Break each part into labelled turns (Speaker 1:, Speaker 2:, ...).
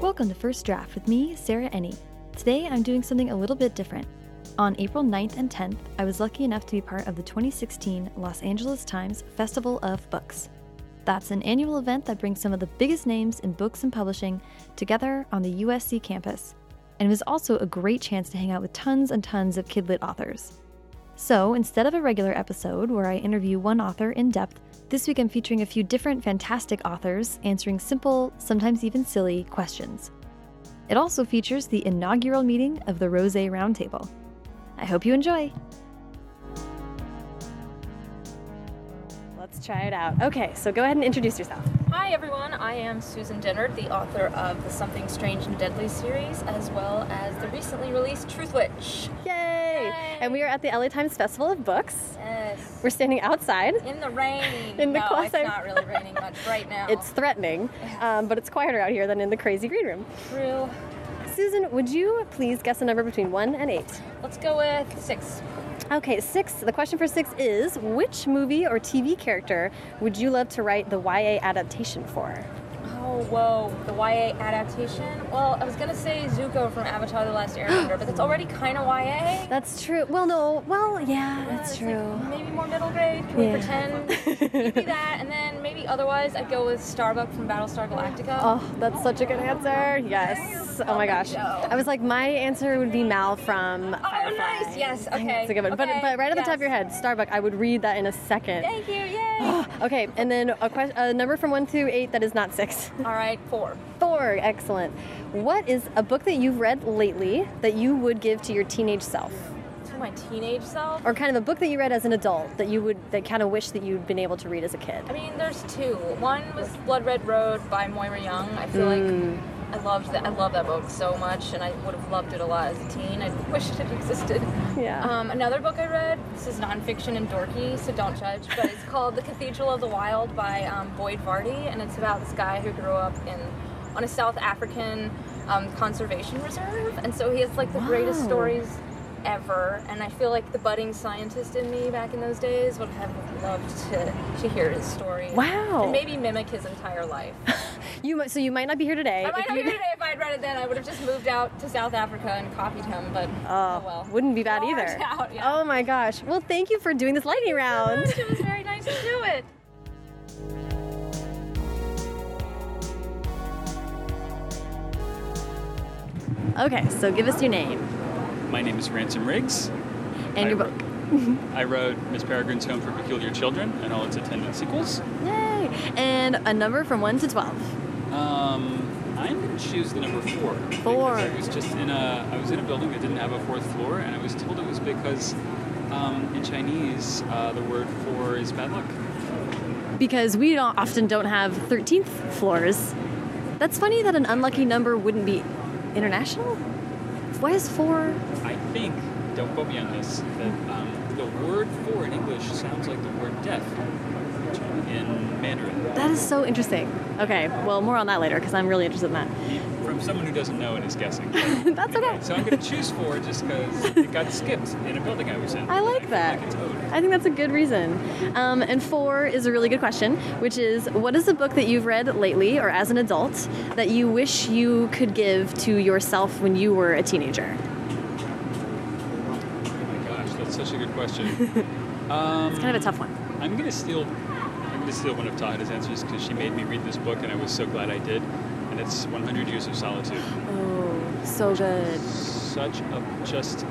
Speaker 1: Welcome to First Draft with me, Sarah Ennie. Today I'm doing something a little bit different. On April 9th and 10th, I was lucky enough to be part of the 2016 Los Angeles Times Festival of Books. That's an annual event that brings some of the biggest names in books and publishing together on the USC campus, and it was also a great chance to hang out with tons and tons of kidlit authors. So, instead of a regular episode where I interview one author in depth, this week I'm featuring a few different fantastic authors answering simple, sometimes even silly, questions. It also features the inaugural meeting of the Rose Roundtable. I hope you enjoy!
Speaker 2: Let's try it out. Okay, so go ahead and introduce yourself.
Speaker 3: Hi everyone, I am Susan Dennard, the author of the Something Strange and Deadly series, as well as the recently released Truth Witch.
Speaker 2: Yay! And we are at the LA Times Festival of Books.
Speaker 3: Yes.
Speaker 2: We're standing outside.
Speaker 3: in the rain.
Speaker 2: In the
Speaker 3: no,
Speaker 2: quasi-
Speaker 3: it's not really raining much right now.
Speaker 2: It's threatening, um, but it's quieter out here than in the crazy green room.
Speaker 3: true.
Speaker 2: Susan, would you please guess a number between 1 and 8?
Speaker 3: Let's go with six.
Speaker 2: Okay, 6. The question for 6 is which movie or TV character would you love to write the YA adaptation for?
Speaker 3: Oh whoa, the YA adaptation. Well, I was gonna say Zuko from Avatar: The Last Airbender, but that's already kind of YA.
Speaker 2: That's true. Well, no. Well, yeah,
Speaker 3: Uh,
Speaker 2: that's
Speaker 3: it's like
Speaker 2: true.
Speaker 3: maybe more middle grade. Can we
Speaker 2: Yeah.
Speaker 3: pretend? maybe that, and then maybe otherwise, I'd go with Starbuck from Battlestar Galactica.
Speaker 2: Oh, that's such a good answer. Yes. Oh my gosh. I was like, my answer would be Mal from. Firefly.
Speaker 3: nice. Yes,
Speaker 2: Oh, I know,
Speaker 3: okay,
Speaker 2: It's a good one. But,
Speaker 3: okay,
Speaker 2: but right at the top
Speaker 3: yes.
Speaker 2: of your head, Starbucks. I would read that in a second. Ah.
Speaker 3: Thank you. Yay.
Speaker 2: Okay, and then a, question, a number from one to eight that is not six.
Speaker 3: All right, four.
Speaker 2: Four. Excellent. What is a book that you've read lately that you would give to your teenage self,
Speaker 3: To my teenage self.
Speaker 2: or kind of a book that you read as an adult that you would that kind of wish that you'd been able to read as a kid?
Speaker 3: I mean, there's two. One was Blood Red Road by Moira Young. I feel
Speaker 2: Hmm. Mm.
Speaker 3: like I loved that. I love that book so much, and I would have loved it a lot as a teen. I wish it had existed.
Speaker 2: Yeah.
Speaker 3: Um, another book I read. This is nonfiction and dorky, so don't judge. But it's called The Cathedral of the Wild by um, Boyd Vardy, and it's about this guy who grew up in on a South African um, conservation reserve, and so he has like the greatest
Speaker 2: Wow.
Speaker 3: stories ever. And I feel like the budding scientist in me back in those days would have loved to to hear his story.
Speaker 2: Wow.
Speaker 3: And maybe mimic his entire life.
Speaker 2: You might- so you might not be here today.
Speaker 3: I might
Speaker 2: if
Speaker 3: not be
Speaker 2: you-
Speaker 3: here today if I had read it then. I would have just moved out to South Africa and copied him, but
Speaker 2: Oh,
Speaker 3: oh well.
Speaker 2: wouldn't be
Speaker 3: It
Speaker 2: bad
Speaker 3: all
Speaker 2: either.
Speaker 3: worked out, yeah.
Speaker 2: Oh my gosh. Well, thank you for doing this lightning round.
Speaker 3: It was very nice to do it.
Speaker 2: Okay, so give us your name
Speaker 4: My name is Ransom Riggs.
Speaker 2: and your
Speaker 4: I
Speaker 2: book.
Speaker 4: wrote- I wrote Miss Peregrine's Home for Peculiar Children and all its attendant sequels.
Speaker 2: Yay! And a number from 1 to 12.
Speaker 4: Um, I'm gonna choose the number four.
Speaker 2: Four.
Speaker 4: Because I was just in a I was in a building that didn't have a fourth floor, and I was told it was because um, in Chinese uh, the word for is bad luck.
Speaker 2: Because we don't, often don't have 13th floors. That's funny that an unlucky number wouldn't be international. Why is 4?
Speaker 4: I think don't quote me on this that um, the word for in English sounds like the word death in Mandarin.
Speaker 2: That is so interesting. Okay, well, more on that later because I'm really interested in that.
Speaker 4: From someone who doesn't know and is guessing.
Speaker 2: That's okay.
Speaker 4: So I'm going to choose four just because it got skipped in a building I was in.
Speaker 2: I like that.
Speaker 4: I feel like it's owed.
Speaker 2: I think that's a good reason. Um, and four is a really good question, which is what is a book that you've read lately or as an adult that you wish you could give to yourself when you were a teenager?
Speaker 4: Oh my gosh, that's such a good question. um,
Speaker 2: Kind of a tough one.
Speaker 4: I'm going to steal. I'm going to steal one of Tahada's answers because she made me read this book and I was so glad I did. And it's 100 Years of Solitude.
Speaker 2: Oh, so good.
Speaker 4: Such a just.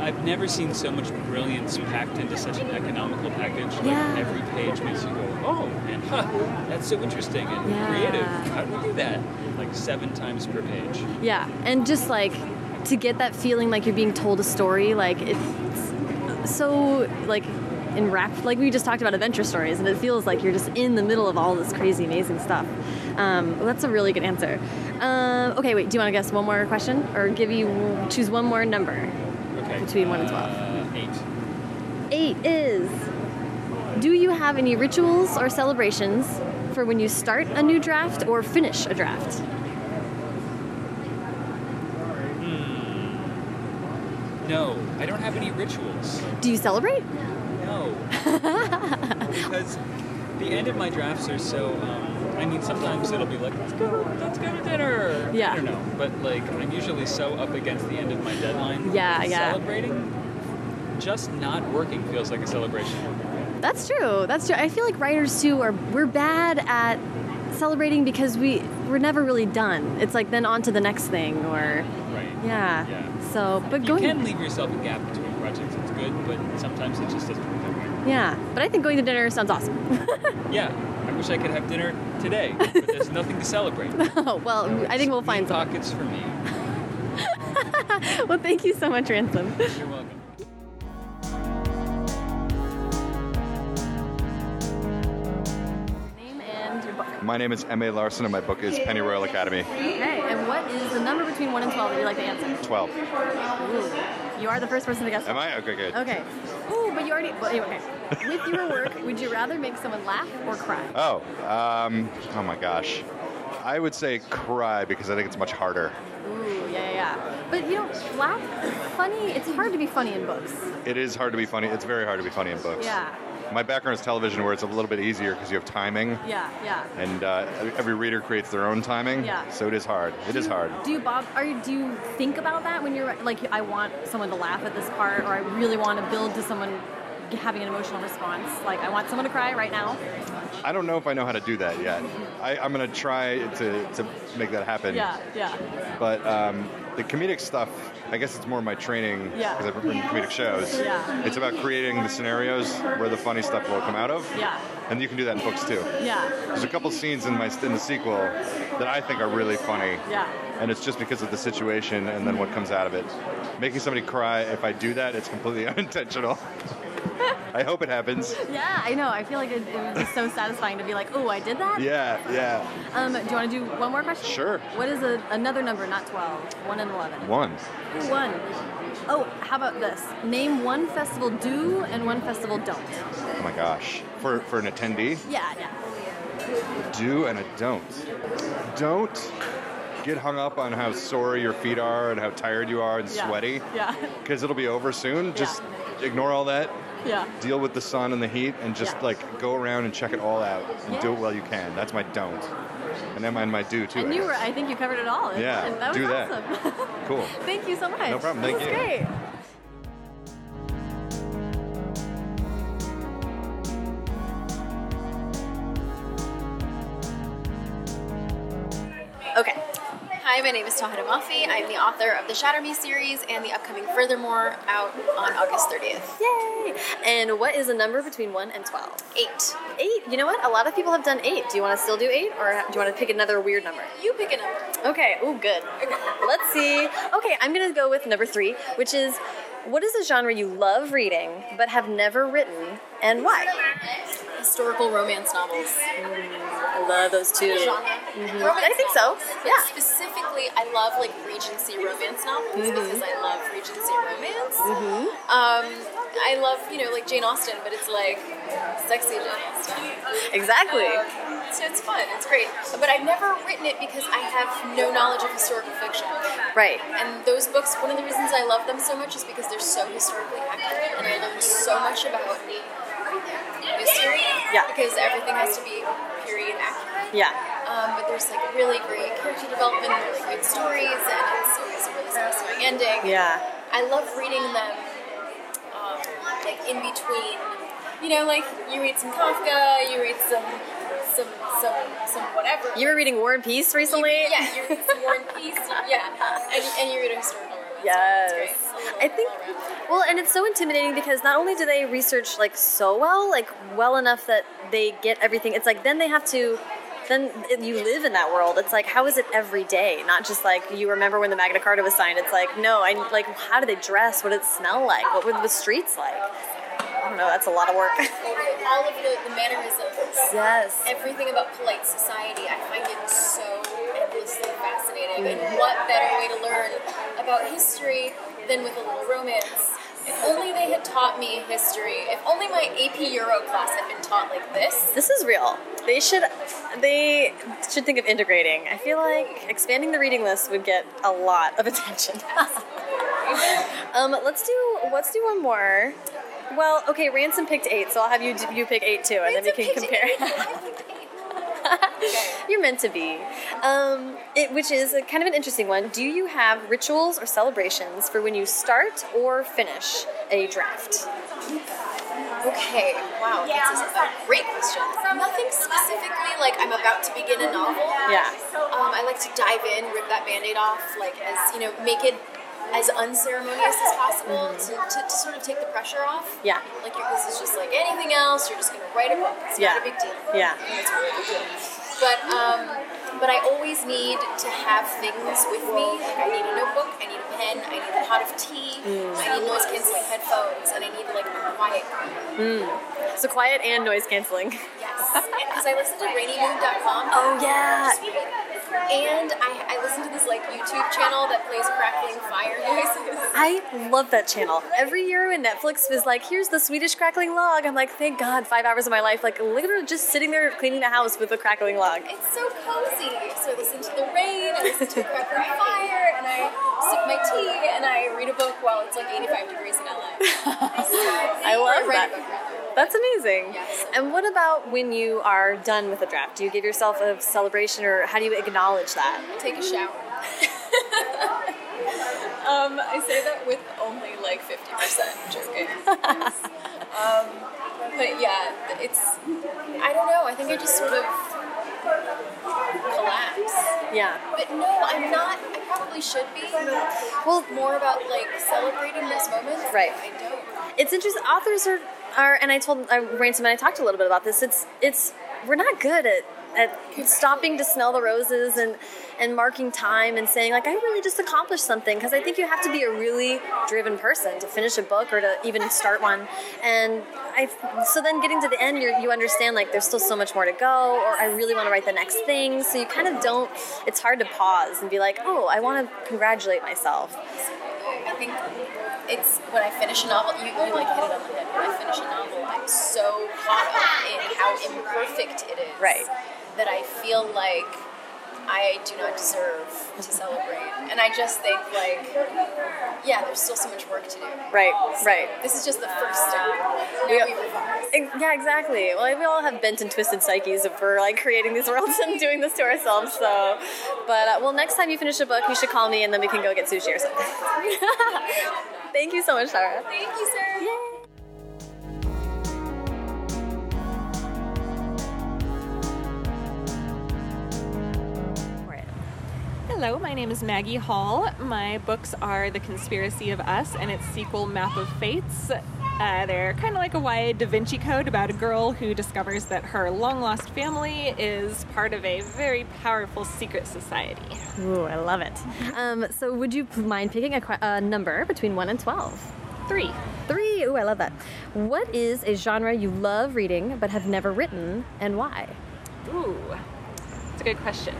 Speaker 4: I've never seen so much brilliance packed into such an economical package. Like
Speaker 2: Yeah.
Speaker 4: every page makes you go, oh, and huh, that's so interesting and
Speaker 2: Yeah.
Speaker 4: creative. How do we do that? Like seven times per page.
Speaker 2: Yeah, and just like to get that feeling like you're being told a story, like it's so like enwrapped. Like we just talked about adventure stories, and it feels like you're just in the middle of all this crazy, amazing stuff. Um, well, that's a really good answer. Um, okay, wait. Do you want to guess one more question, or give you choose one more number?
Speaker 4: Okay.
Speaker 2: Between one and
Speaker 4: Uh, eight.
Speaker 2: Eight is. Do you have any rituals or celebrations for when you start a new draft or finish a draft?
Speaker 4: No, I don't have any rituals.
Speaker 2: Do you celebrate?
Speaker 4: No, because the end of my drafts are so. Um, I mean, sometimes it'll be like, let's go, let's go to dinner.
Speaker 2: Yeah.
Speaker 4: I don't know, but like I'm usually so up against the end of my deadline.
Speaker 2: Yeah, yeah.
Speaker 4: Celebrating, just not working feels like a celebration.
Speaker 2: That's true. That's true. I feel like writers too are we're bad at celebrating because we we're never really done. It's like then on to the next thing or
Speaker 4: Right.
Speaker 2: yeah.
Speaker 4: Yeah.
Speaker 2: So but
Speaker 4: You
Speaker 2: going
Speaker 4: can leave yourself a gap between projects. It's good, but sometimes it just doesn't work that way.
Speaker 2: yeah. But I think going to dinner sounds awesome.
Speaker 4: Yeah, I wish I could have dinner today, but there's nothing to celebrate.
Speaker 2: Oh, well, I think we'll find some.
Speaker 4: pockets for me.
Speaker 2: Well, thank you so much, Ransom.
Speaker 4: You're welcome.
Speaker 2: Name and your book.
Speaker 5: My name is M.A. Larson, and my book is Penny Royal Academy
Speaker 2: Okay. And what is the number between one and twelve that you like to answer?
Speaker 5: 12.
Speaker 2: Ooh. You are the first person to guess.
Speaker 5: Am I? Okay, good.
Speaker 2: Okay. Ooh, but you already. Well, anyway, okay. With your work, would you rather make someone laugh or cry?
Speaker 5: Oh, um, oh my gosh. I would say cry because I think it's much harder.
Speaker 2: Ooh, yeah, yeah, yeah. But you know, laugh, funny, it's hard to be funny in books.
Speaker 5: It is hard to be funny. It's very hard to be funny in books.
Speaker 2: Yeah,
Speaker 5: My background is television, where it's a little bit easier because you have timing,
Speaker 2: yeah, yeah.
Speaker 5: and uh, every reader creates their own timing.
Speaker 2: Yeah.
Speaker 5: So it is hard. It is hard.
Speaker 2: Do you, Bob, are you, do you think about that when you're like, I want someone to laugh at this part, or I really want to build to someone having an emotional response? Like, I want someone to cry right now?
Speaker 5: I don't know if I know how to do that yet. I, I'm gonna try to, to make that happen.
Speaker 2: Yeah, yeah.
Speaker 5: But um, the comedic stuff, I guess it's more my training
Speaker 2: Yeah.
Speaker 5: because I've written comedic shows.
Speaker 2: Yeah.
Speaker 5: It's about creating the scenarios where the funny stuff will come out of.
Speaker 2: Yeah.
Speaker 5: And you can do that in books too.
Speaker 2: Yeah,
Speaker 5: There's a couple scenes in my in the sequel that I think are really funny.
Speaker 2: yeah.
Speaker 5: And it's just because of the situation and then what comes out of it. Making somebody cry, if I do that, it's completely unintentional. I hope it happens.
Speaker 2: Yeah, I know. I feel like it, it would be so satisfying to be like, oh, I did that?
Speaker 5: Yeah, yeah.
Speaker 2: Um, do you want to do one more question?
Speaker 5: Sure.
Speaker 2: What is a, another number, not 12? 1 and 11.
Speaker 5: One.
Speaker 2: Ooh, One. Oh, how about this? Name one festival do and one festival don't.
Speaker 5: Oh my gosh. For for an attendee,
Speaker 2: Yeah, yeah.
Speaker 5: do and a don't. Don't get hung up on how sore your feet are and how tired you are and
Speaker 2: yeah.
Speaker 5: sweaty
Speaker 2: Yeah,
Speaker 5: because it'll be over soon. Just ignore all that.
Speaker 2: yeah.
Speaker 5: Deal with the sun and the heat and just
Speaker 2: Yeah.
Speaker 5: like go around and check it all out and
Speaker 2: Yeah.
Speaker 5: do it while you can. That's my don't. And then my, my do too.
Speaker 2: And
Speaker 5: I
Speaker 2: you were,
Speaker 5: guess.
Speaker 2: I think you covered it all. It's
Speaker 5: Yeah,
Speaker 2: fun. That was
Speaker 5: do that.
Speaker 2: awesome.
Speaker 5: Cool.
Speaker 2: Thank you so much.
Speaker 5: No problem. Thank
Speaker 2: This is
Speaker 5: you.
Speaker 2: great.
Speaker 6: Okay. Hi, my name is Tahira Mafi. I'm the author of the Shatter Me series and the upcoming Furthermore out on August 30th.
Speaker 2: Yay! And what is a number between 1 and 12?
Speaker 6: Eight.
Speaker 2: Eight. You know what? A lot of people have done eight. Do you want to still do eight, or do you want to pick another weird number?
Speaker 6: You pick a number.
Speaker 2: Okay. Ooh, good. Let's see. Okay, I'm gonna go with number three, which is, what is a genre you love reading but have never written, and why?
Speaker 6: Historical romance novels.
Speaker 2: Mm, I love those two.
Speaker 6: Genre.
Speaker 2: I think so. Yeah.
Speaker 6: Specifically, I love like Regency romance novels
Speaker 2: Mm-hmm.
Speaker 6: because I love Regency romance. Um, I love, you know, like Jane Austen, but it's like sexy Jane Austen.
Speaker 2: Exactly.
Speaker 6: Um, so it's fun. It's great. But I've never written it because I have no knowledge of historical fiction.
Speaker 2: Right.
Speaker 6: And those books, one of the reasons I love them so much is because they're so historically accurate, and I learned so much about history
Speaker 2: Yeah.
Speaker 6: because everything has to be period accurate.
Speaker 2: Yeah.
Speaker 6: Um, but there's like really great character development, and really good stories, and it's always a really satisfying ending.
Speaker 2: Yeah.
Speaker 6: I love reading them, um, like in between. You know, like you read some Kafka, you read some, some, some, some whatever.
Speaker 2: You were reading War and Peace recently.
Speaker 6: yeah, you read some War and Peace. Yeah, and, and you read a historical romance.
Speaker 2: Yes.
Speaker 6: It's great. It's a little
Speaker 2: I think
Speaker 6: all-round.
Speaker 2: well and it's so intimidating because not only do they research like so well, like well enough that they get everything. It's like then they have to then you live in that world. It's like how is it every day? Not just like you remember when the Magna Carta was signed. It's like no, I like how do they dress? What did it smell like? What were the streets like? I don't know. That's a lot of work.
Speaker 6: all of the, the mannerisms.
Speaker 2: yes.
Speaker 6: everything about polite society. I find it so endlessly fascinating. And what better way to learn about history than with a little romance? If only they had taught me history. If only my AP Euro class had been taught like this.
Speaker 2: This is real. They should they should think of integrating. I feel like expanding the reading list would get a lot of attention. Um, let's do let's do one more. Well, okay, Ransom picked eight, so I'll have you you pick eight too, and then we can compare. You're meant to be, um, it, which is a, kind of an interesting one. Do you have rituals or celebrations for when you start or finish a draft?
Speaker 6: Okay, wow, that's a great question. Nothing specifically like I'm about to begin a novel.
Speaker 2: Yeah.
Speaker 6: Um, I like to dive in, rip that band-aid off, like as you know, make it as unceremonious as possible to,
Speaker 2: Mm-hmm.
Speaker 6: to, to sort of take the pressure off.
Speaker 2: Yeah.
Speaker 6: Like because it's just like anything else, you're just gonna write a book. It's
Speaker 2: Yeah.
Speaker 6: not a big deal.
Speaker 2: Yeah.
Speaker 6: It's really big deal. But um, but I always need to have things with me. Like I need a notebook, I need a pen, I need a pot of tea,
Speaker 2: Mm.
Speaker 6: I need noise canceling headphones, and I need like a quiet room.
Speaker 2: Mm. So quiet and noise canceling.
Speaker 6: Yes, because I listen to RainyMoon.com.
Speaker 2: Oh yeah.
Speaker 6: And I, I listen to this like YouTube channel that plays crackling fire noises.
Speaker 2: I love that channel. Every year when Netflix was like, here's the Swedish crackling log, I'm like, thank God, five hours of my life, like literally just sitting there cleaning the house with a crackling log.
Speaker 6: It's so cozy. So I listen to the rain, I listen to crackling fire, and I sip my tea and I read a book while it's like 85 degrees in LA.
Speaker 2: I love
Speaker 6: Or write a book,
Speaker 2: that.
Speaker 6: rather.
Speaker 2: That's amazing.
Speaker 6: Yes.
Speaker 2: And what about when you are done with a draft? Do you give yourself a celebration or how do you acknowledge that?
Speaker 6: Take a shower.
Speaker 3: Um, I say that with only like 50% joking. um,
Speaker 6: Um,
Speaker 3: but yeah, it's
Speaker 6: I don't know. I think I just sort of collapse.
Speaker 2: Yeah.
Speaker 6: But no, I'm not. I probably should be. Well, more about like celebrating this moment.
Speaker 2: Right.
Speaker 6: I don't.
Speaker 2: It's interesting. Authors are, are and I told uh, Ransom and I talked a little bit about this. It's it's we're not good at at stopping to smell the roses and and marking time and saying like I really just accomplished something because I think you have to be a really driven person to finish a book or to even start one. And I so then getting to the end, you you understand like there's still so much more to go, or I really want to write the next thing. So you kind of don't. It's hard to pause and be like, oh, I want to congratulate myself.
Speaker 6: I think it's when I finish a novel, you, you like hit it on the head. When I finish a novel, I'm so caught up in how imperfect it is
Speaker 2: Right.
Speaker 6: that I feel like I do not deserve to celebrate. And I just think like, yeah, there's still so much work to do.
Speaker 2: Right. Right.
Speaker 6: This is just the first step. Now
Speaker 2: Yeah.
Speaker 6: we move on.
Speaker 2: Ex- Yeah, exactly. Well, we all have bent and twisted psyches if we're like creating these worlds and doing this to ourselves. So, but uh, well, next time you finish a book, you should call me and then we can go get sushi or something. Thank you so much, Sarah.
Speaker 6: Thank you, sir.
Speaker 7: Hello, my name is Maggie Hall. My books are The Conspiracy of Us and its sequel, Map of Fates. Uh, they're kind of like a YA Da Vinci Code about a girl who discovers that her long lost family is part of a very powerful secret society.
Speaker 2: Ooh, I love it. Um, so, would you mind picking a, que- a number between one and twelve?
Speaker 7: Three.
Speaker 2: Three. Ooh, I love that. What is a genre you love reading but have never written, and why?
Speaker 7: Ooh, that's a good question.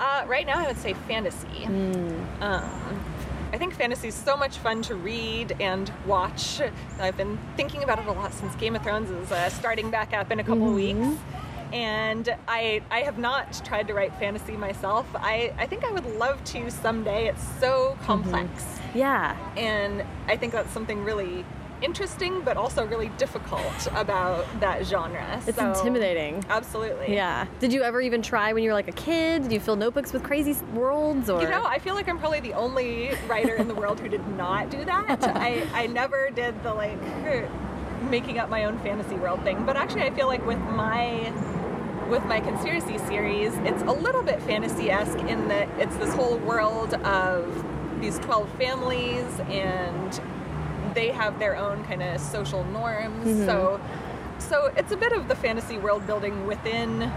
Speaker 7: Uh, right now, I would say fantasy.
Speaker 2: Hmm.
Speaker 7: Um, I think fantasy is so much fun to read and watch. I've been thinking about it a lot since Game of Thrones is uh, starting back up in a couple
Speaker 2: Mm-hmm.
Speaker 7: weeks. And I, I have not tried to write fantasy myself. I, I think I would love to someday. It's so complex.
Speaker 2: Mm-hmm. Yeah,
Speaker 7: And I think that's something really interesting, but also really difficult about that genre.
Speaker 2: It's
Speaker 7: So-
Speaker 2: intimidating.
Speaker 7: Absolutely.
Speaker 2: Yeah. Did you ever even try when you were like a kid? Did you fill notebooks with crazy s- worlds or?
Speaker 7: You know, I feel like I'm probably the only writer in the world who did not do that. I, I never did the like making up my own fantasy world thing. But actually, I feel like with my with my conspiracy series, it's a little bit fantasy esque in that it's this whole world of these 12 families and they have their own kind of social norms.
Speaker 8: Mm-hmm.
Speaker 7: So so it's a bit of the fantasy world building within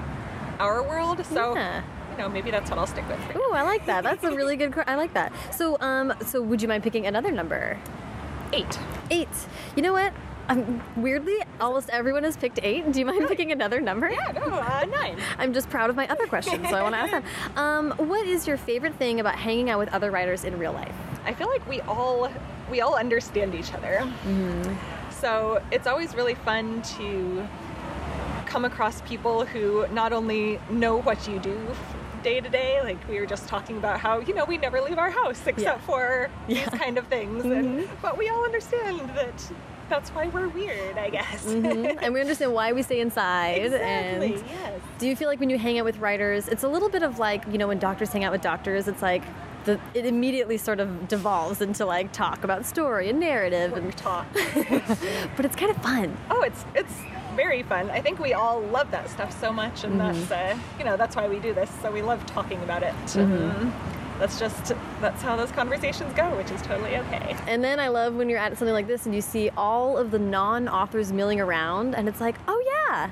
Speaker 7: our world. So
Speaker 2: Yeah.
Speaker 7: you know, maybe that's what I'll stick with. For now.
Speaker 2: Ooh, I like that. That's a really good. que- I like that. So, um, so would you mind picking another number?
Speaker 7: Eight.
Speaker 2: Eight. You know what? Um, weirdly, almost everyone has picked eight. Do you mind picking another number?
Speaker 7: Yeah, no, uh, nine.
Speaker 2: I'm just proud of my other questions, so I want to ask them. Um, what is your favorite thing about hanging out with other writers in real life?
Speaker 7: I feel like we all we all understand each other.
Speaker 2: Mm-hmm.
Speaker 7: So it's always really fun to come across people who not only know what you do f- day to day. Like we were just talking about how you know we never leave our house except for these kind of things, and,
Speaker 2: Mm-hmm.
Speaker 7: but we all understand that that's why we're weird, I guess.
Speaker 2: Mm-hmm. and we understand why we stay inside.
Speaker 7: exactly.
Speaker 2: And
Speaker 7: Yes.
Speaker 2: do you feel like when you hang out with writers, it's a little bit of like you know when doctors hang out with doctors, it's like. The, it immediately sort of devolves into like talk about story and narrative, and,
Speaker 7: Work talk.
Speaker 2: but it's kind of fun.
Speaker 7: oh, it's it's very fun. I think we all love that stuff so much, and
Speaker 2: Mm-hmm.
Speaker 7: that's uh, you know that's why we do this. So we love talking about it.
Speaker 2: Mm-hmm.
Speaker 7: Um, That's just that's how those conversations go, which is totally okay.
Speaker 2: And then I love when you're at something like this and you see all of the non-authors milling around, and it's like, oh yeah,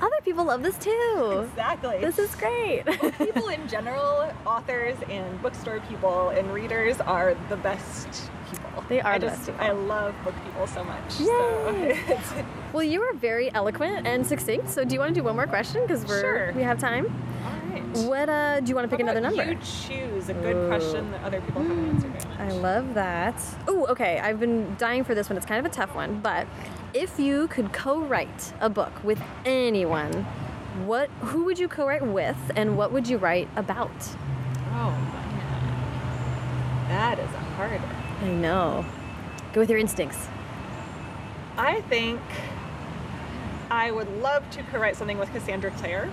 Speaker 2: other people love this too.
Speaker 7: Exactly.
Speaker 2: This is great.
Speaker 7: people in general, authors and bookstore people and readers are the best people.
Speaker 2: They are
Speaker 7: I
Speaker 2: the
Speaker 7: just,
Speaker 2: best people.
Speaker 7: I love book people so much. So it's-
Speaker 2: well, you were very eloquent and succinct. So do you want to do one more question because we're
Speaker 7: Sure.
Speaker 2: we have time?
Speaker 7: all right.
Speaker 2: What uh, do you want to
Speaker 7: How
Speaker 2: pick another
Speaker 7: about
Speaker 2: number?
Speaker 7: You choose a good question that other people haven't answered. very
Speaker 2: I
Speaker 7: much.
Speaker 2: love that. Oh, okay. I've been dying for this one. It's kind of a tough one, but if you could co-write a book with anyone, what who would you co-write with, and what would you write about?
Speaker 7: Oh, man. that is a hard one.
Speaker 2: I know. Go with your instincts.
Speaker 7: I think I would love to co-write something with Cassandra Clare.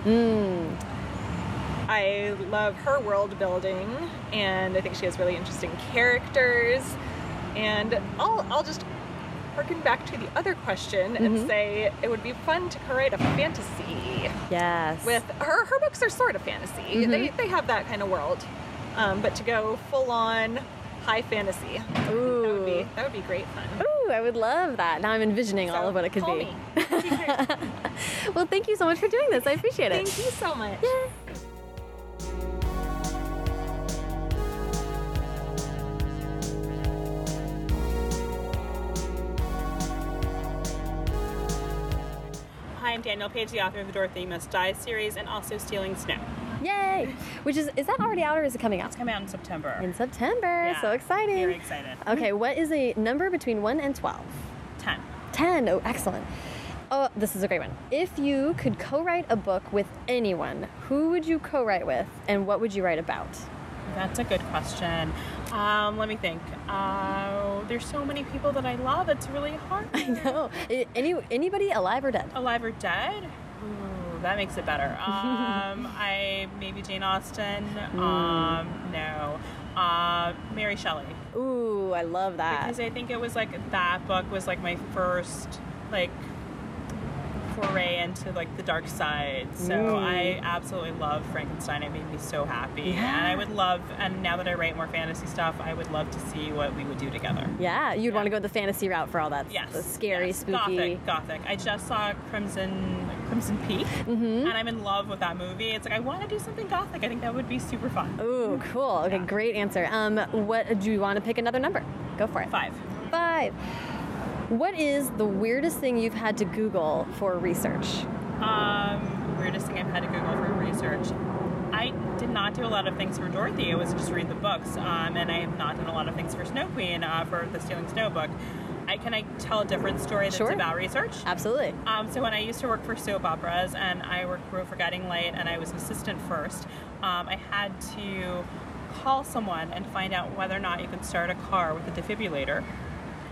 Speaker 7: I love her world building, and I think she has really interesting characters. And I'll I'll just harken back to the other question
Speaker 2: Mm-hmm.
Speaker 7: and say it would be fun to co-write a fantasy
Speaker 2: Yes. Mm-hmm.
Speaker 7: with her. Her books are sort of fantasy. They they have that kind of world, um, but to go full on high fantasy, that would be
Speaker 2: Ooh.
Speaker 7: that would be great fun.
Speaker 2: Ooh, I would love that. Now I'm envisioning all
Speaker 7: So
Speaker 2: of what it could
Speaker 7: call
Speaker 2: be.
Speaker 7: me.
Speaker 2: Well, thank you so much for doing this. I appreciate it.
Speaker 7: Thank you so much.
Speaker 9: Hi, I'm Daniel Page, the author of the Dorothy Must Die series and also Stealing Snow.
Speaker 2: Yay! Which is is that already out or is it coming out?
Speaker 9: Come out in September.
Speaker 2: In September.
Speaker 9: Yeah,
Speaker 2: So exciting.
Speaker 9: Very excited.
Speaker 2: Okay, what is a number between 1 and 12?
Speaker 9: 10.
Speaker 2: 10. Oh, excellent. Oh, this is a great one. If you could co-write a book with anyone, who would you co-write with and what would you write about?
Speaker 9: That's a good question. Um, let me think. Uh, there's so many people that I love, it's really hard.
Speaker 2: I know. A- Any anybody alive or dead?
Speaker 9: Alive or dead? Ooh, that makes it better. Um, I maybe Jane Austen.
Speaker 2: Mm.
Speaker 9: Um, no. Uh, Mary Shelley.
Speaker 2: Ooh, I love that.
Speaker 9: because I think it was like that book was like my first like foray into like the dark side. So
Speaker 2: Mm.
Speaker 9: I absolutely love Frankenstein. It made me so happy, and I would love. And now that I write more fantasy stuff, I would love to see what we would do together.
Speaker 2: Yeah, you'd want to go the fantasy route for all that.
Speaker 9: Yes,
Speaker 2: The scary,
Speaker 9: yes.
Speaker 2: spooky.
Speaker 9: gothic, gothic. I just saw Crimson Crimson Peak,
Speaker 2: Mm-hmm.
Speaker 9: and I'm in love with that movie. It's like I want to do something gothic. I think that would be super fun.
Speaker 2: Ooh, cool. Okay, great answer. Um, what do you want to pick another number? Go for it.
Speaker 9: Five.
Speaker 2: Five. What is the weirdest thing you've had to Google for research?
Speaker 9: Um, weirdest thing I've had to Google for research. I did not do a lot of things for Dorothy. It was just read the books, um, and I have not done a lot of things for Snow Queen uh, for the Stealing Snow book. I can I tell a different story that's
Speaker 2: Sure.
Speaker 9: about research.
Speaker 2: Absolutely.
Speaker 9: Um, so when I used to work for soap operas, and I worked wrote for Guiding Light, and I was an assistant first, um, I had to call someone and find out whether or not you could start a car with a defibrillator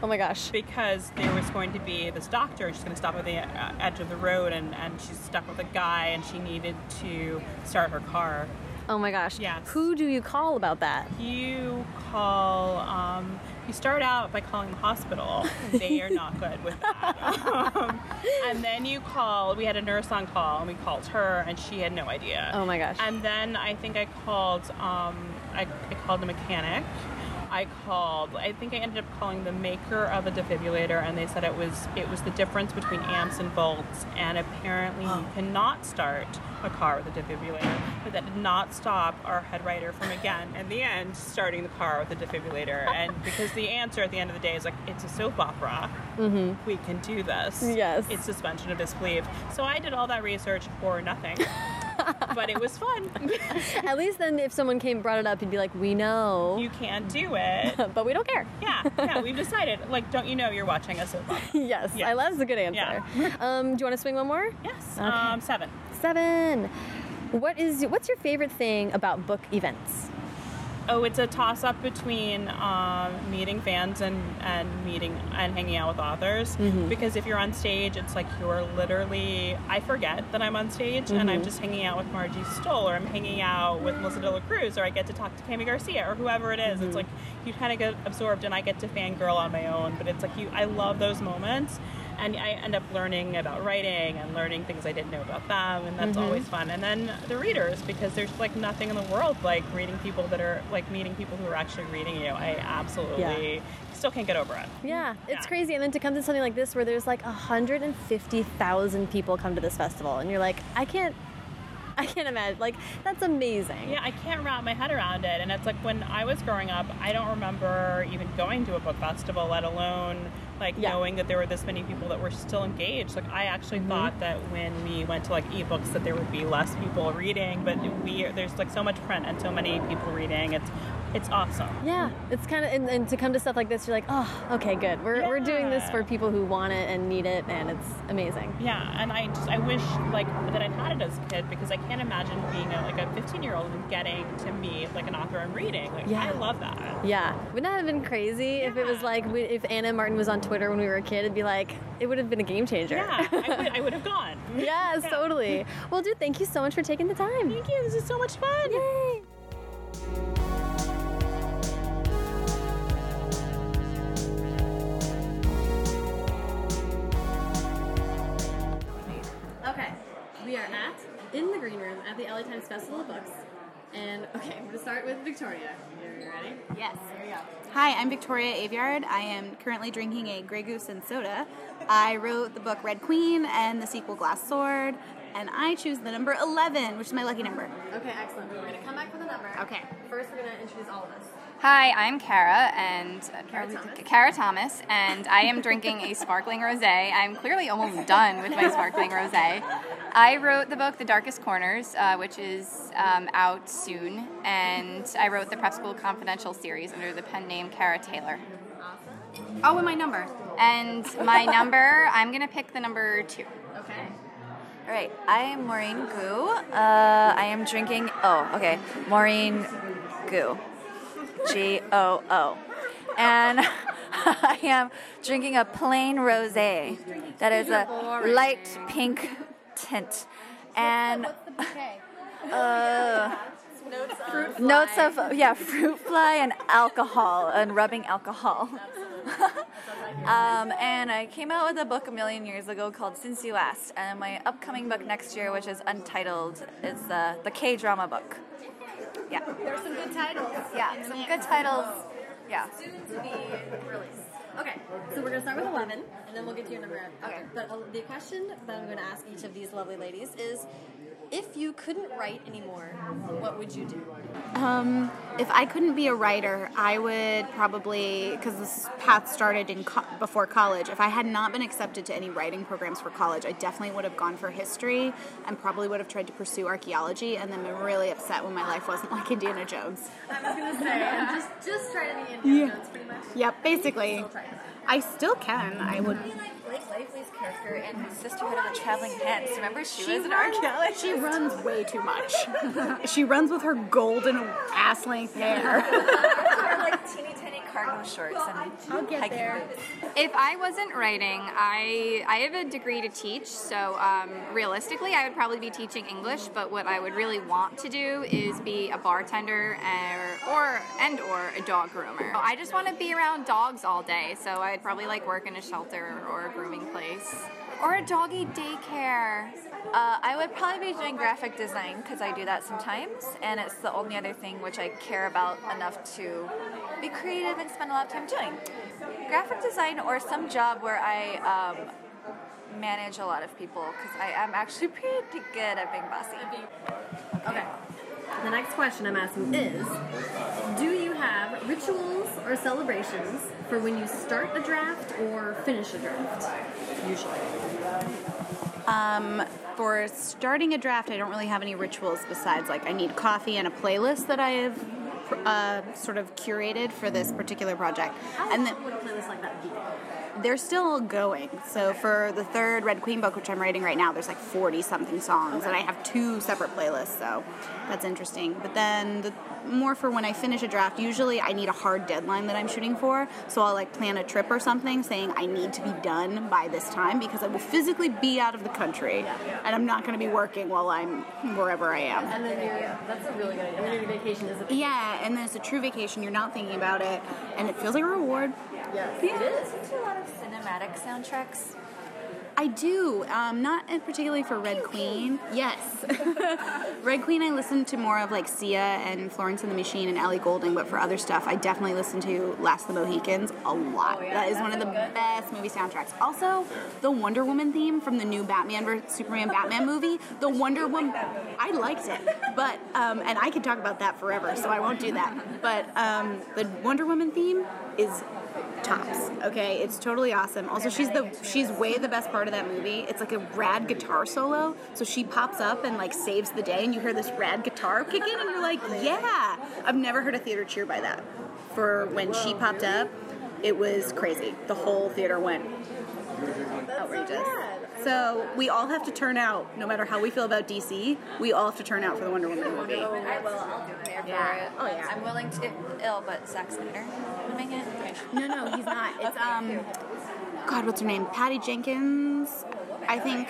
Speaker 2: Oh my gosh.
Speaker 9: because there was going to be this doctor. She's going to stop at the uh, edge of the road, and, and she's stuck with a guy, and she needed to start her car.
Speaker 2: Oh my gosh.
Speaker 9: Yes.
Speaker 2: Who do you call about that?
Speaker 9: You call. Um, you start out by calling the hospital. They are not good with that. Um, and then you call. We had a nurse on call, and we called her, and she had no idea.
Speaker 2: Oh my gosh.
Speaker 9: And then I think I called. Um, I, I called the mechanic. I called. I think I ended up calling the maker of a defibrillator, and they said it was it was the difference between amps and volts, and apparently
Speaker 2: Oh.
Speaker 9: you cannot start a car with a defibrillator. But that did not stop our head writer from again in the end starting the car with a defibrillator, and because the answer at the end of the day is like it's a soap opera,
Speaker 7: Hmm.
Speaker 2: Mm-hmm.
Speaker 9: we can do this.
Speaker 2: Yes.
Speaker 9: it's suspension of disbelief. So I did all that research for nothing. But it was fun.
Speaker 2: At least then, if someone came brought it up, you'd be like, "We know,
Speaker 9: You can do it.
Speaker 2: but we don't care."
Speaker 9: Yeah, yeah, we've decided. Like, don't you know you're watching a soap opera?
Speaker 2: yes,
Speaker 9: Yes.
Speaker 2: I love that's a good answer.
Speaker 9: Yeah.
Speaker 2: um, do you want to swing one more?
Speaker 9: Yes. Um, seven.
Speaker 2: Seven. What is what's your favorite thing about book events?
Speaker 9: Oh, it's a toss up between um, meeting fans and, and meeting and hanging out with authors. Because if you're on stage, it's like you're literally, I forget that I'm on stage and I'm just hanging out with Margie Stoll or I'm hanging out with Melissa De La Cruz or I get to talk to Cami Garcia or whoever it is. It's like you kind of get absorbed and I get to fangirl on my own. But it's like you, I love those moments. And I end up learning about writing and learning things I didn't know about them, and that's always fun. And then the readers, because there's like nothing in the world like reading people that are like meeting people who are actually reading you. I absolutely still can't get over it.
Speaker 2: Yeah, it's
Speaker 9: Yeah.
Speaker 2: crazy. And then to come to something like this where there's like 150,000 people come to this festival and you're like, I can't I can't imagine. Like that's amazing.
Speaker 9: Yeah, I can't wrap my head around it. And it's like when I was growing up, I don't remember even going to a book festival, let alone like
Speaker 2: Yeah. Mm-hmm.
Speaker 9: knowing that there were this many people that were still engaged. Like I actually thought that when we went to like ebooks that there would be less people reading, but we there's like so much print and so many people reading. It's it's awesome.
Speaker 2: Yeah,
Speaker 9: Mm-hmm.
Speaker 2: it's kind of and, and to come to stuff like this, you're like, oh, okay, good. We're, we're doing this
Speaker 9: Yeah.
Speaker 2: for people who want it and need it, and it's amazing.
Speaker 9: Yeah, and I just I wish like that I had it as a kid because I can't imagine being a, like a 15 year old and getting to meet like an author I'm reading. Like
Speaker 2: Yeah.
Speaker 9: I love that.
Speaker 2: Yeah, wouldn't that have been crazy if it was
Speaker 9: Yeah.
Speaker 2: like we- if Anna Martin was on Twitter when we were a kid? It'd be like it would have been a game changer.
Speaker 9: Yeah, I would, I would have gone.
Speaker 2: yes, totally. Well, dude, thank you so much for taking the time.
Speaker 9: Thank you. This is so much fun.
Speaker 2: Yay. Okay, we are at in the green room at the LA Times Festival of Books. And okay, I'm gonna start with Victoria. Are you ready?
Speaker 10: Yes. Hi, I'm Victoria Aveyard. I am currently drinking a Grey Goose and soda. I wrote the book Red Queen and the sequel Glass Sword, and I choose the number 11, which is my lucky number.
Speaker 2: Okay, excellent. We're gonna come back with a number.
Speaker 10: Okay.
Speaker 2: First, we're gonna introduce all of us.
Speaker 11: Hi, I'm Kara and uh,
Speaker 2: Kara Thomas.
Speaker 11: Kara Thomas, and I am drinking a sparkling rosé. I'm clearly almost done with my sparkling rosé. I wrote the book The Darkest Corners, uh, which is um, out soon, and I wrote the Prep School Confidential series under the pen name Kara Taylor.
Speaker 10: Oh, and my number.
Speaker 11: And
Speaker 2: Mm-hmm.
Speaker 11: my number, I'm gonna pick the number two.
Speaker 8: All right, I am Maureen Gu. Uh, I am drinking. Oh, okay, Maureen Gu, G O O, and I am drinking a plain rosé that is a light pink tint, and uh, notes of yeah fruit fly and alcohol and rubbing alcohol. Um, and I came out with a book a million years ago called Since You Last, and my upcoming book next year, which is untitled, is uh, the K drama book. Yeah. There's some good titles. Yeah, some good titles. Yeah.
Speaker 2: Okay, so we're gonna start with 11, and then we'll get to your number after. But uh, the question that I'm gonna ask each of these lovely ladies is, if you couldn't write anymore, what would you do?
Speaker 10: Um, if I couldn't be a writer, I would probably because this path started in co- before college. If I had not been accepted to any writing programs for college, I definitely would have gone for history and probably would have tried to pursue archaeology and then been really upset when my life wasn't like Indiana Jones.
Speaker 2: just just try to be Indiana Jones, pretty much.
Speaker 10: Yep, basically. I still can. I would.
Speaker 8: like Blake Lively's character in Sisterhood of the Traveling Pants. Remember, she, was an archaeologist.
Speaker 10: She runs way too much. she runs with her golden ass length hair.
Speaker 8: wore like teeny tiny cargo shorts and I'll get there.
Speaker 11: If I wasn't writing, I I have a degree to teach, so um, realistically, I would probably be teaching English. But what I would really want to do is be a bartender or, or and or a dog groomer. I just want to be around dogs all day, so I'd probably like work in a shelter or a grooming place or a doggy daycare.
Speaker 8: Uh, I would probably be doing graphic design because I do that sometimes, and it's the only other thing which I care about enough to be creative and spend a lot of time doing. Graphic design or some job where I um, manage a lot of people because I am actually pretty good at being bossy.
Speaker 2: Okay. The next question I'm asking is, do you have rituals or celebrations for when you start a draft or finish a draft? Usually.
Speaker 10: Um, for starting a draft, I don't really have any rituals besides like I need coffee and a playlist that I have uh, sort of curated for this particular project. And then
Speaker 2: Oh, What a playlist like that would be.
Speaker 10: they're still going. So for the third Red Queen book, which I'm writing right now, there's like 40 something songs, and I have two separate playlists, so that's interesting. But then the, more for when I finish a draft, usually I need a hard deadline that I'm shooting for, so I'll like plan a trip or something saying I need to be done by this time because I will physically be out of the country, and I'm not going to be working while I'm wherever I am.
Speaker 2: And then you're, that's a really good idea. And then your vacation is a
Speaker 10: Yeah, and then it's a true vacation. You're not thinking about it, and it feels like a reward.
Speaker 2: Yes,
Speaker 8: Do you listen to a lot of cinematic soundtracks?
Speaker 10: I do, um, not in- particularly for Red Queen. Yes, Red Queen. I listen to more of like Sia and Florence and the Machine and Ellie Goulding, but for other stuff, I definitely listen to Last of the Mohicans a lot.
Speaker 12: Oh,
Speaker 10: that is one of the best movie soundtracks. Also, the Wonder Woman theme from the new Batman versus Superman Batman movie. The Wonder Woman. I liked it, but um, and I could talk about that forever, so I won't do that. But um, the Wonder Woman theme is tops. Okay, it's totally awesome. Also, she's the she's way the best part of that movie. It's like a rad guitar solo. So she pops up and like saves the day, and you hear this rad guitar kick in, and you're like, yeah. I've never heard a theater cheer by that. For when she popped up, it was crazy. The whole theater went outrageous. So we all have to turn out, no matter how we feel about DC. We all have to turn out for the Wonder Woman movie.
Speaker 8: I will. I'll do it
Speaker 10: Yeah.
Speaker 8: for it. Oh yeah. I'm willing to ill, but Zack Snyder. Am I gonna- okay.
Speaker 10: No, no, he's not. It's um, God, what's her name? Patty Jenkins. I think.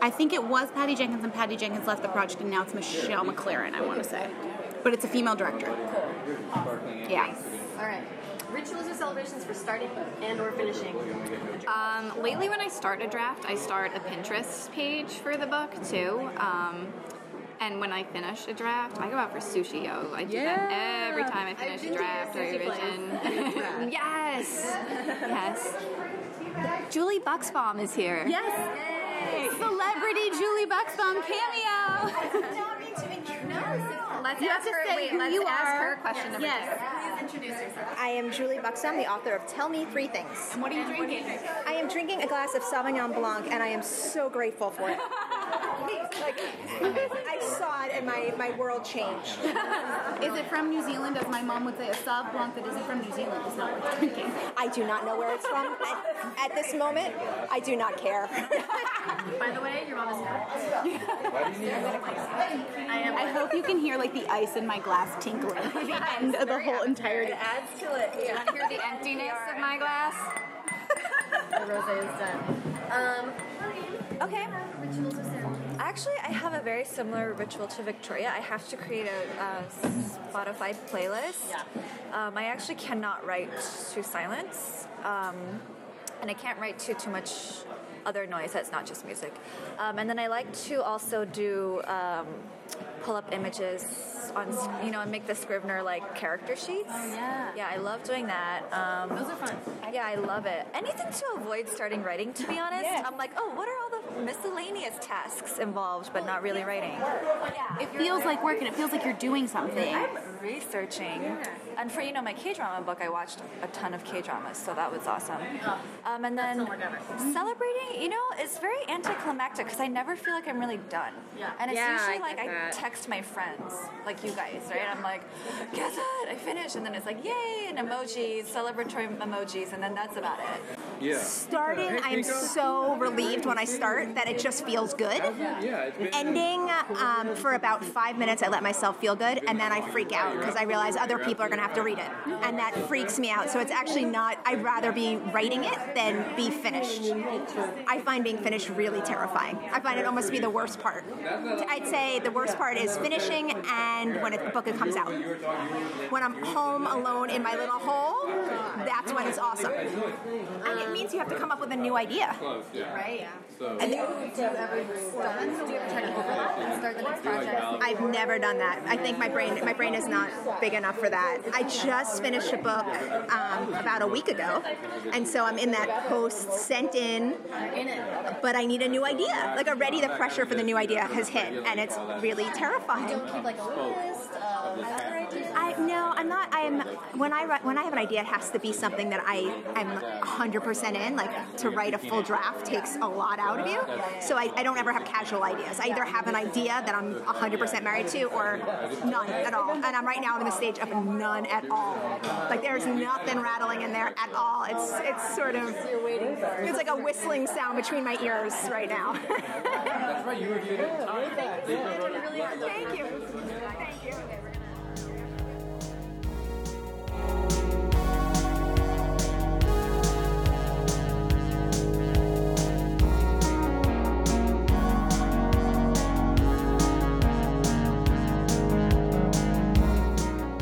Speaker 10: I think it was Patty Jenkins, and Patty Jenkins left the project, and now it's Michelle McLaren. I want to say, but it's a female director. Yeah.
Speaker 2: All right. Rituals or celebrations for starting and or finishing.
Speaker 11: Um, lately, when I start a draft, I start a Pinterest page for the book too. Um, and when I finish a draft, I go out for sushi. Yo, I do that every time I finish a draft or revision. yes, yes. Julie Buxbaum is here.
Speaker 10: Yes. Celebrity Julie Buxbaum cameo.
Speaker 11: Let's
Speaker 10: You have
Speaker 11: ask
Speaker 10: to
Speaker 11: her.
Speaker 10: say
Speaker 11: wait,
Speaker 10: who
Speaker 11: let's
Speaker 10: you
Speaker 11: ask
Speaker 10: are.
Speaker 11: her a question. Number
Speaker 10: Yes.
Speaker 11: Two. Please introduce yourself.
Speaker 12: I am Julie Buxom, the author of Tell Me Three Things.
Speaker 11: And what are you drinking?
Speaker 12: I am drinking a glass of Sauvignon Blanc, and I am so grateful for it. like, I saw it, and my, my world changed.
Speaker 10: Is it from New Zealand? As my mom would say, a Sauv Blanc that isn't from New Zealand is not worth drinking.
Speaker 12: I do not know where it's from. At, at this moment, I do not care.
Speaker 2: Uh,
Speaker 11: By the way, your mom
Speaker 2: Oh.
Speaker 11: is
Speaker 10: I, hope you can hear like the ice in my glass tinkling for the end of the whole entirety.
Speaker 12: adds to it.
Speaker 11: You want to hear the emptiness of my glass?
Speaker 2: The rosé is done.
Speaker 12: Um, okay. Actually, I have a very similar ritual to Victoria. I have to create a, uh Spotify playlist. Um, I actually cannot write to silence, um, and I can't write to too much other noise that's not just music. Um, and then I like to also do um, pull up images on, s- you know, and make the Scrivener like character sheets.
Speaker 8: yeah.
Speaker 12: Oh, Yeah, I love doing that. Um, Those are fun. Yeah, I love it. Anything to avoid starting writing, to be honest. I'm like, oh, what are all the miscellaneous tasks involved, but not really writing?
Speaker 10: It feels like work, and it feels like you're doing something.
Speaker 12: I'm researching. And for, you know, my K drama book, I watched a ton of K dramas, so that was awesome. Um, and then Mm-hmm. celebrating, you know, it's very anticlimactic because I never feel like I'm really done. Yeah. And it's
Speaker 8: Yeah,
Speaker 12: usually
Speaker 8: I
Speaker 12: like
Speaker 8: get
Speaker 12: I
Speaker 8: that.
Speaker 12: text my friends, like you guys, right? I'm like, guess what? I finished. And then it's like, yay, and emojis, celebratory emojis, and then that's about it.
Speaker 4: Yeah.
Speaker 12: Starting,
Speaker 4: I'm
Speaker 12: so relieved when I start that it just feels good.
Speaker 4: Yeah. It's been,
Speaker 12: Ending um, for about five minutes, I let myself feel good, and then I freak out because I realize other people are going to have to read it, and that freaks me out. So it's actually not. I'd rather be writing it than be finished. I find being finished really terrifying. I find it almost to be the worst part. I'd say the worst part is finishing and when it, the book comes out. When I'm home alone in my little hole, that's when it's awesome. And it means you have to come up with a new idea.
Speaker 8: Right.
Speaker 12: And
Speaker 8: Do you ever stop? Do you ever try to overlap and start the next project?
Speaker 12: I've never done that. I think my brain my brain is not big enough for that. I just finished a book um, about a week ago, and so I'm in that post sent in. But I need a new idea. Like already, the pressure for the new idea has hit, and it's really terrifying.
Speaker 6: uh,
Speaker 8: Don't keep like a list of other ideas.
Speaker 12: I no, I'm not. I'm when I write, when I have an idea, it has to be something that I am 100 percent in. Like to write a full draft takes a lot out of you. So I, I don't ever have casual ideas. I either have an idea that I'm 100 percent married to, or none at all. And I'm right now I'm in the stage of none at all. Like there's nothing rattling in there at all. It's it's sort of it's like a whistling sound between my ears right now.
Speaker 13: That's right, you reviewed it.
Speaker 12: Thank you.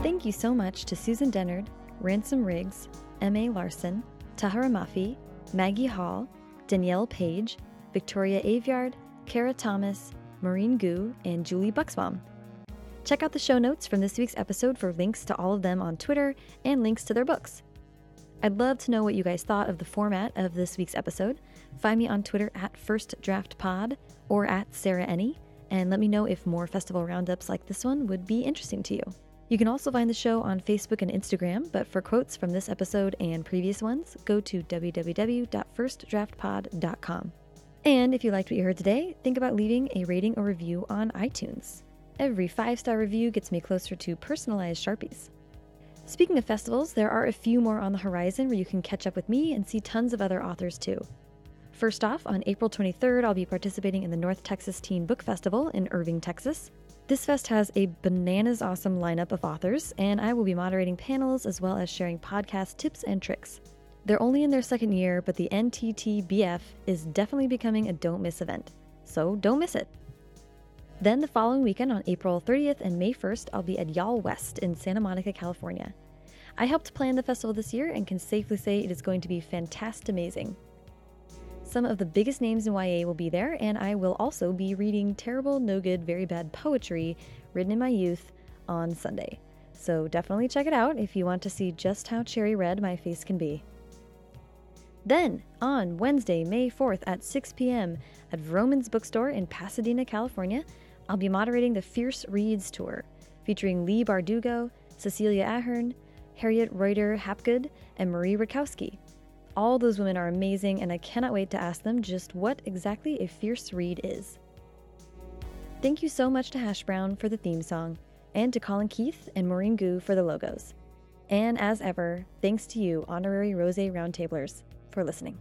Speaker 1: Thank you so much to Susan Dennard, Ransom Riggs, M.A. Larson, Tahara Mafi, Maggie Hall, Danielle Page, Victoria Aveyard, Kara Thomas, Maureen Gu, and Julie Buxbaum. Check out the show notes from this week's episode for links to all of them on Twitter and links to their books. I'd love to know what you guys thought of the format of this week's episode. Find me on Twitter at First Draft Pod or at Sarah Ennie, and let me know if more festival roundups like this one would be interesting to you. You can also find the show on Facebook and Instagram, but for quotes from this episode and previous ones, go to www.firstdraftpod.com. And if you liked what you heard today, think about leaving a rating or review on iTunes. Every five star review gets me closer to personalized Sharpies. Speaking of festivals, there are a few more on the horizon where you can catch up with me and see tons of other authors too. First off, on April 23rd, I'll be participating in the North Texas Teen Book Festival in Irving, Texas. This fest has a bananas awesome lineup of authors, and I will be moderating panels as well as sharing podcast tips and tricks. They're only in their second year, but the NTTBF is definitely becoming a don't miss event, so don't miss it. Then the following weekend on April 30th and May 1st, I'll be at Y'all West in Santa Monica, California. I helped plan the festival this year and can safely say it is going to be fantastic amazing. Some of the biggest names in YA will be there, and I will also be reading terrible, no good, very bad poetry written in my youth on Sunday. So definitely check it out if you want to see just how cherry red my face can be. Then, on Wednesday, May 4th at 6 p.m. at Vroman's Bookstore in Pasadena, California, I'll be moderating the Fierce Reads Tour, featuring Lee Bardugo, Cecilia Ahern, Harriet Reuter Hapgood, and Marie Rakowski. All those women are amazing, and I cannot wait to ask them just what exactly a fierce read is. Thank you so much to Hash Brown for the theme song, and to Colin Keith and Maureen Gu for the logos. And as ever, thanks to you, honorary Rose Roundtablers, for listening.